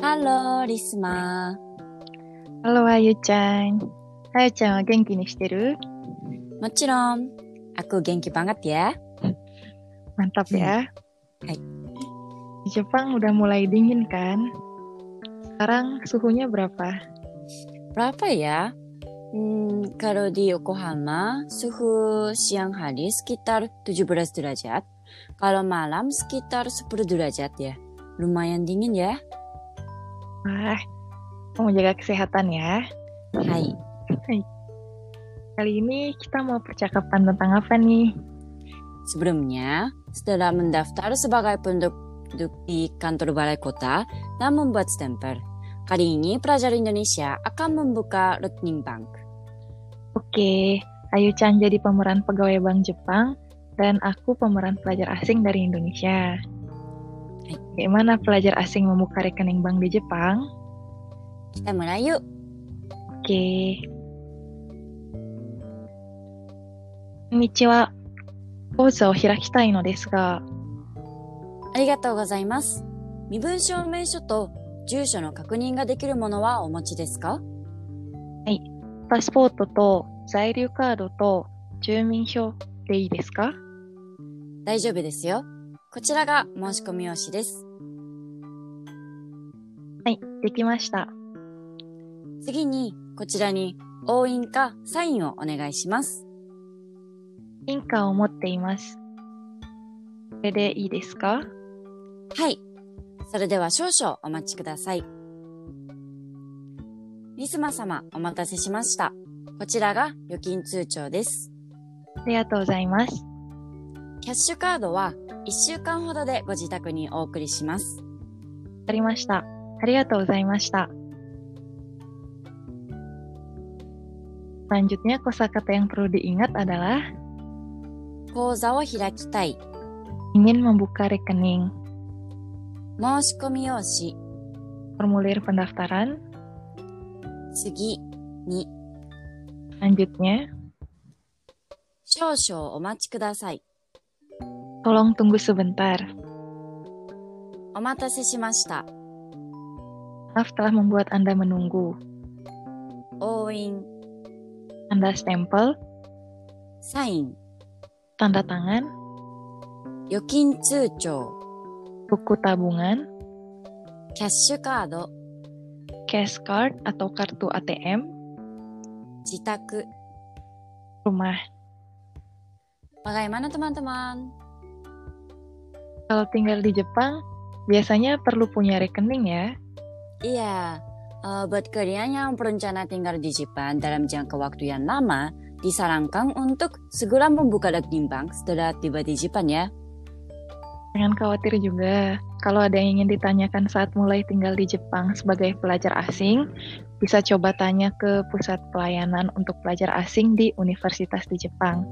ロー、リスマー。ハロー、あゆちゃん。あゆちゃんは元気にしてるもちろん、aku genki banget ya. Mantap ya. Hai. Di Jepang udah mulai dingin kan? Sekarang suhunya berapa? Berapa ya? Hmm, kalau di Yokohama, suhu siang hari sekitar 17 derajat. Kalau malam sekitar 10 derajat ya. Lumayan dingin ya. Wah, mau jaga kesehatan ya. Hai. Kali ini kita mau percakapan tentang apa nih? Sebelumnya, setelah mendaftar sebagai penduduk di kantor balai kota dan membuat stempel, kali ini pelajar Indonesia akan membuka rekening bank. Oke, Ayu Chan jadi pemeran pegawai bank Jepang dan aku pemeran pelajar asing dari Indonesia. Bagaimana pelajar asing membuka rekening bank di Jepang? Kita mulai yuk. Oke.こんにちは。講座を開きたいのですが、ありがとうございます。身分証明書と住所の確認ができるものはお持ちですかパスポートと在留カードと住民票でいいですか大丈夫ですよ。こちらが申し込み用紙です。はい、できました。次に、こちらに、押印かサインをお願いします。印鑑を持っています。これでいいですかはい。それでは少々お待ちください。リスマ様、お待たせしました。こちらが預金通帳です。ありがとうございます。キャッシュカードは1週間ほどでご自宅にお送りします。わかりました。ありがとうございました。Selanjutnya kosakata yang perlu diingat adalah 口座を開きたい。 ingin membuka rekening, 申し込み用紙、 formulir pendaftaran, 次に selanjutnya 少々お待ちください。 tolong tunggu sebentar. お待たせしました。 Maaf telah membuat Anda menunggu. 押印、 Anda stempel, サイン、 tanda tangan, 預金通帳、 buku tabungan, キャッシュカード、 cash card atau kartu ATM, 自宅。 rumah. Bagaimana teman-teman? Kalau tinggal di Jepang, biasanya perlu punya rekening ya. Iya, eh, buat kalian yang berencana tinggal di Jepang dalam jangka waktu yang lama, disarankan untuk segera membuka rekening bank setelah tiba di Jepang ya. Jangan khawatir juga, kalau ada yang ingin ditanyakan saat mulai tinggal di Jepang sebagai pelajar asing, bisa coba tanya ke pusat pelayanan untuk pelajar asing di universitas di Jepang.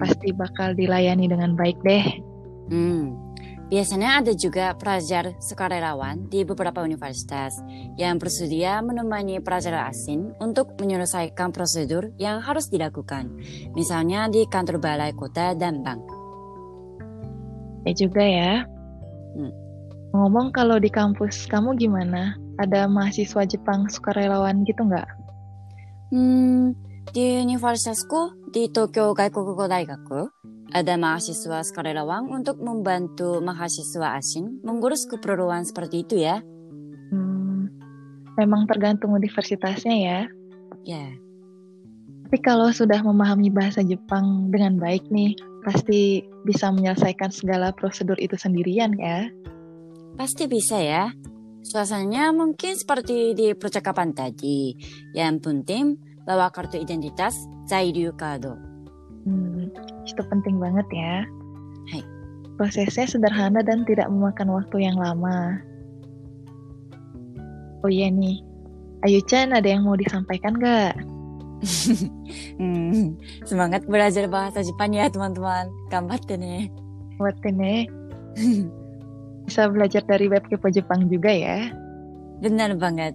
Pasti bakal dilayani dengan baik deh. Hmm. Biasanya ada juga pelajar sukarelawan di beberapa universitas yang bersedia menemani pelajar asing untuk menyelesaikan prosedur yang harus dilakukan, misalnya di kantor balai kota dan bank. Ya juga ya. Hmm. Ngomong kalau di kampus kamu gimana? Ada mahasiswa Jepang sukarelawan gitu nggak? Hmm, di universitasku di Tokyo Gaikukugo Daigaku ada mahasiswa sukarelawan untuk membantu mahasiswa asing mengurus keperluan seperti itu ya. Hmm, memang tergantung universitasnya ya. Ya, Tapi kalau sudah memahami bahasa Jepang dengan baik nih, pasti bisa menyelesaikan segala prosedur itu sendirian ya. pasti bisa ya. Suasananya mungkin seperti di percakapan tadi. Yang penting bawa kartu identitas Zairyu Kado. Hmm, itu penting banget ya. Hai. Prosesnya sederhana dan tidak memakan waktu yang lama. Oh iya nih, Ayu Chan ada yang mau disampaikan nggak? Hmm, semangat belajar bahasa Jepang ya teman-teman. Gambatte ne. Buat ini bisa belajar dari web kepo Jepang juga ya. Benar banget.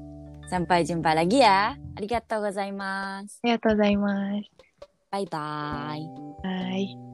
Sampai jumpa lagi ya. Arigatou gozaimasu. Ya, gozaimasu. Bye bye. Bye.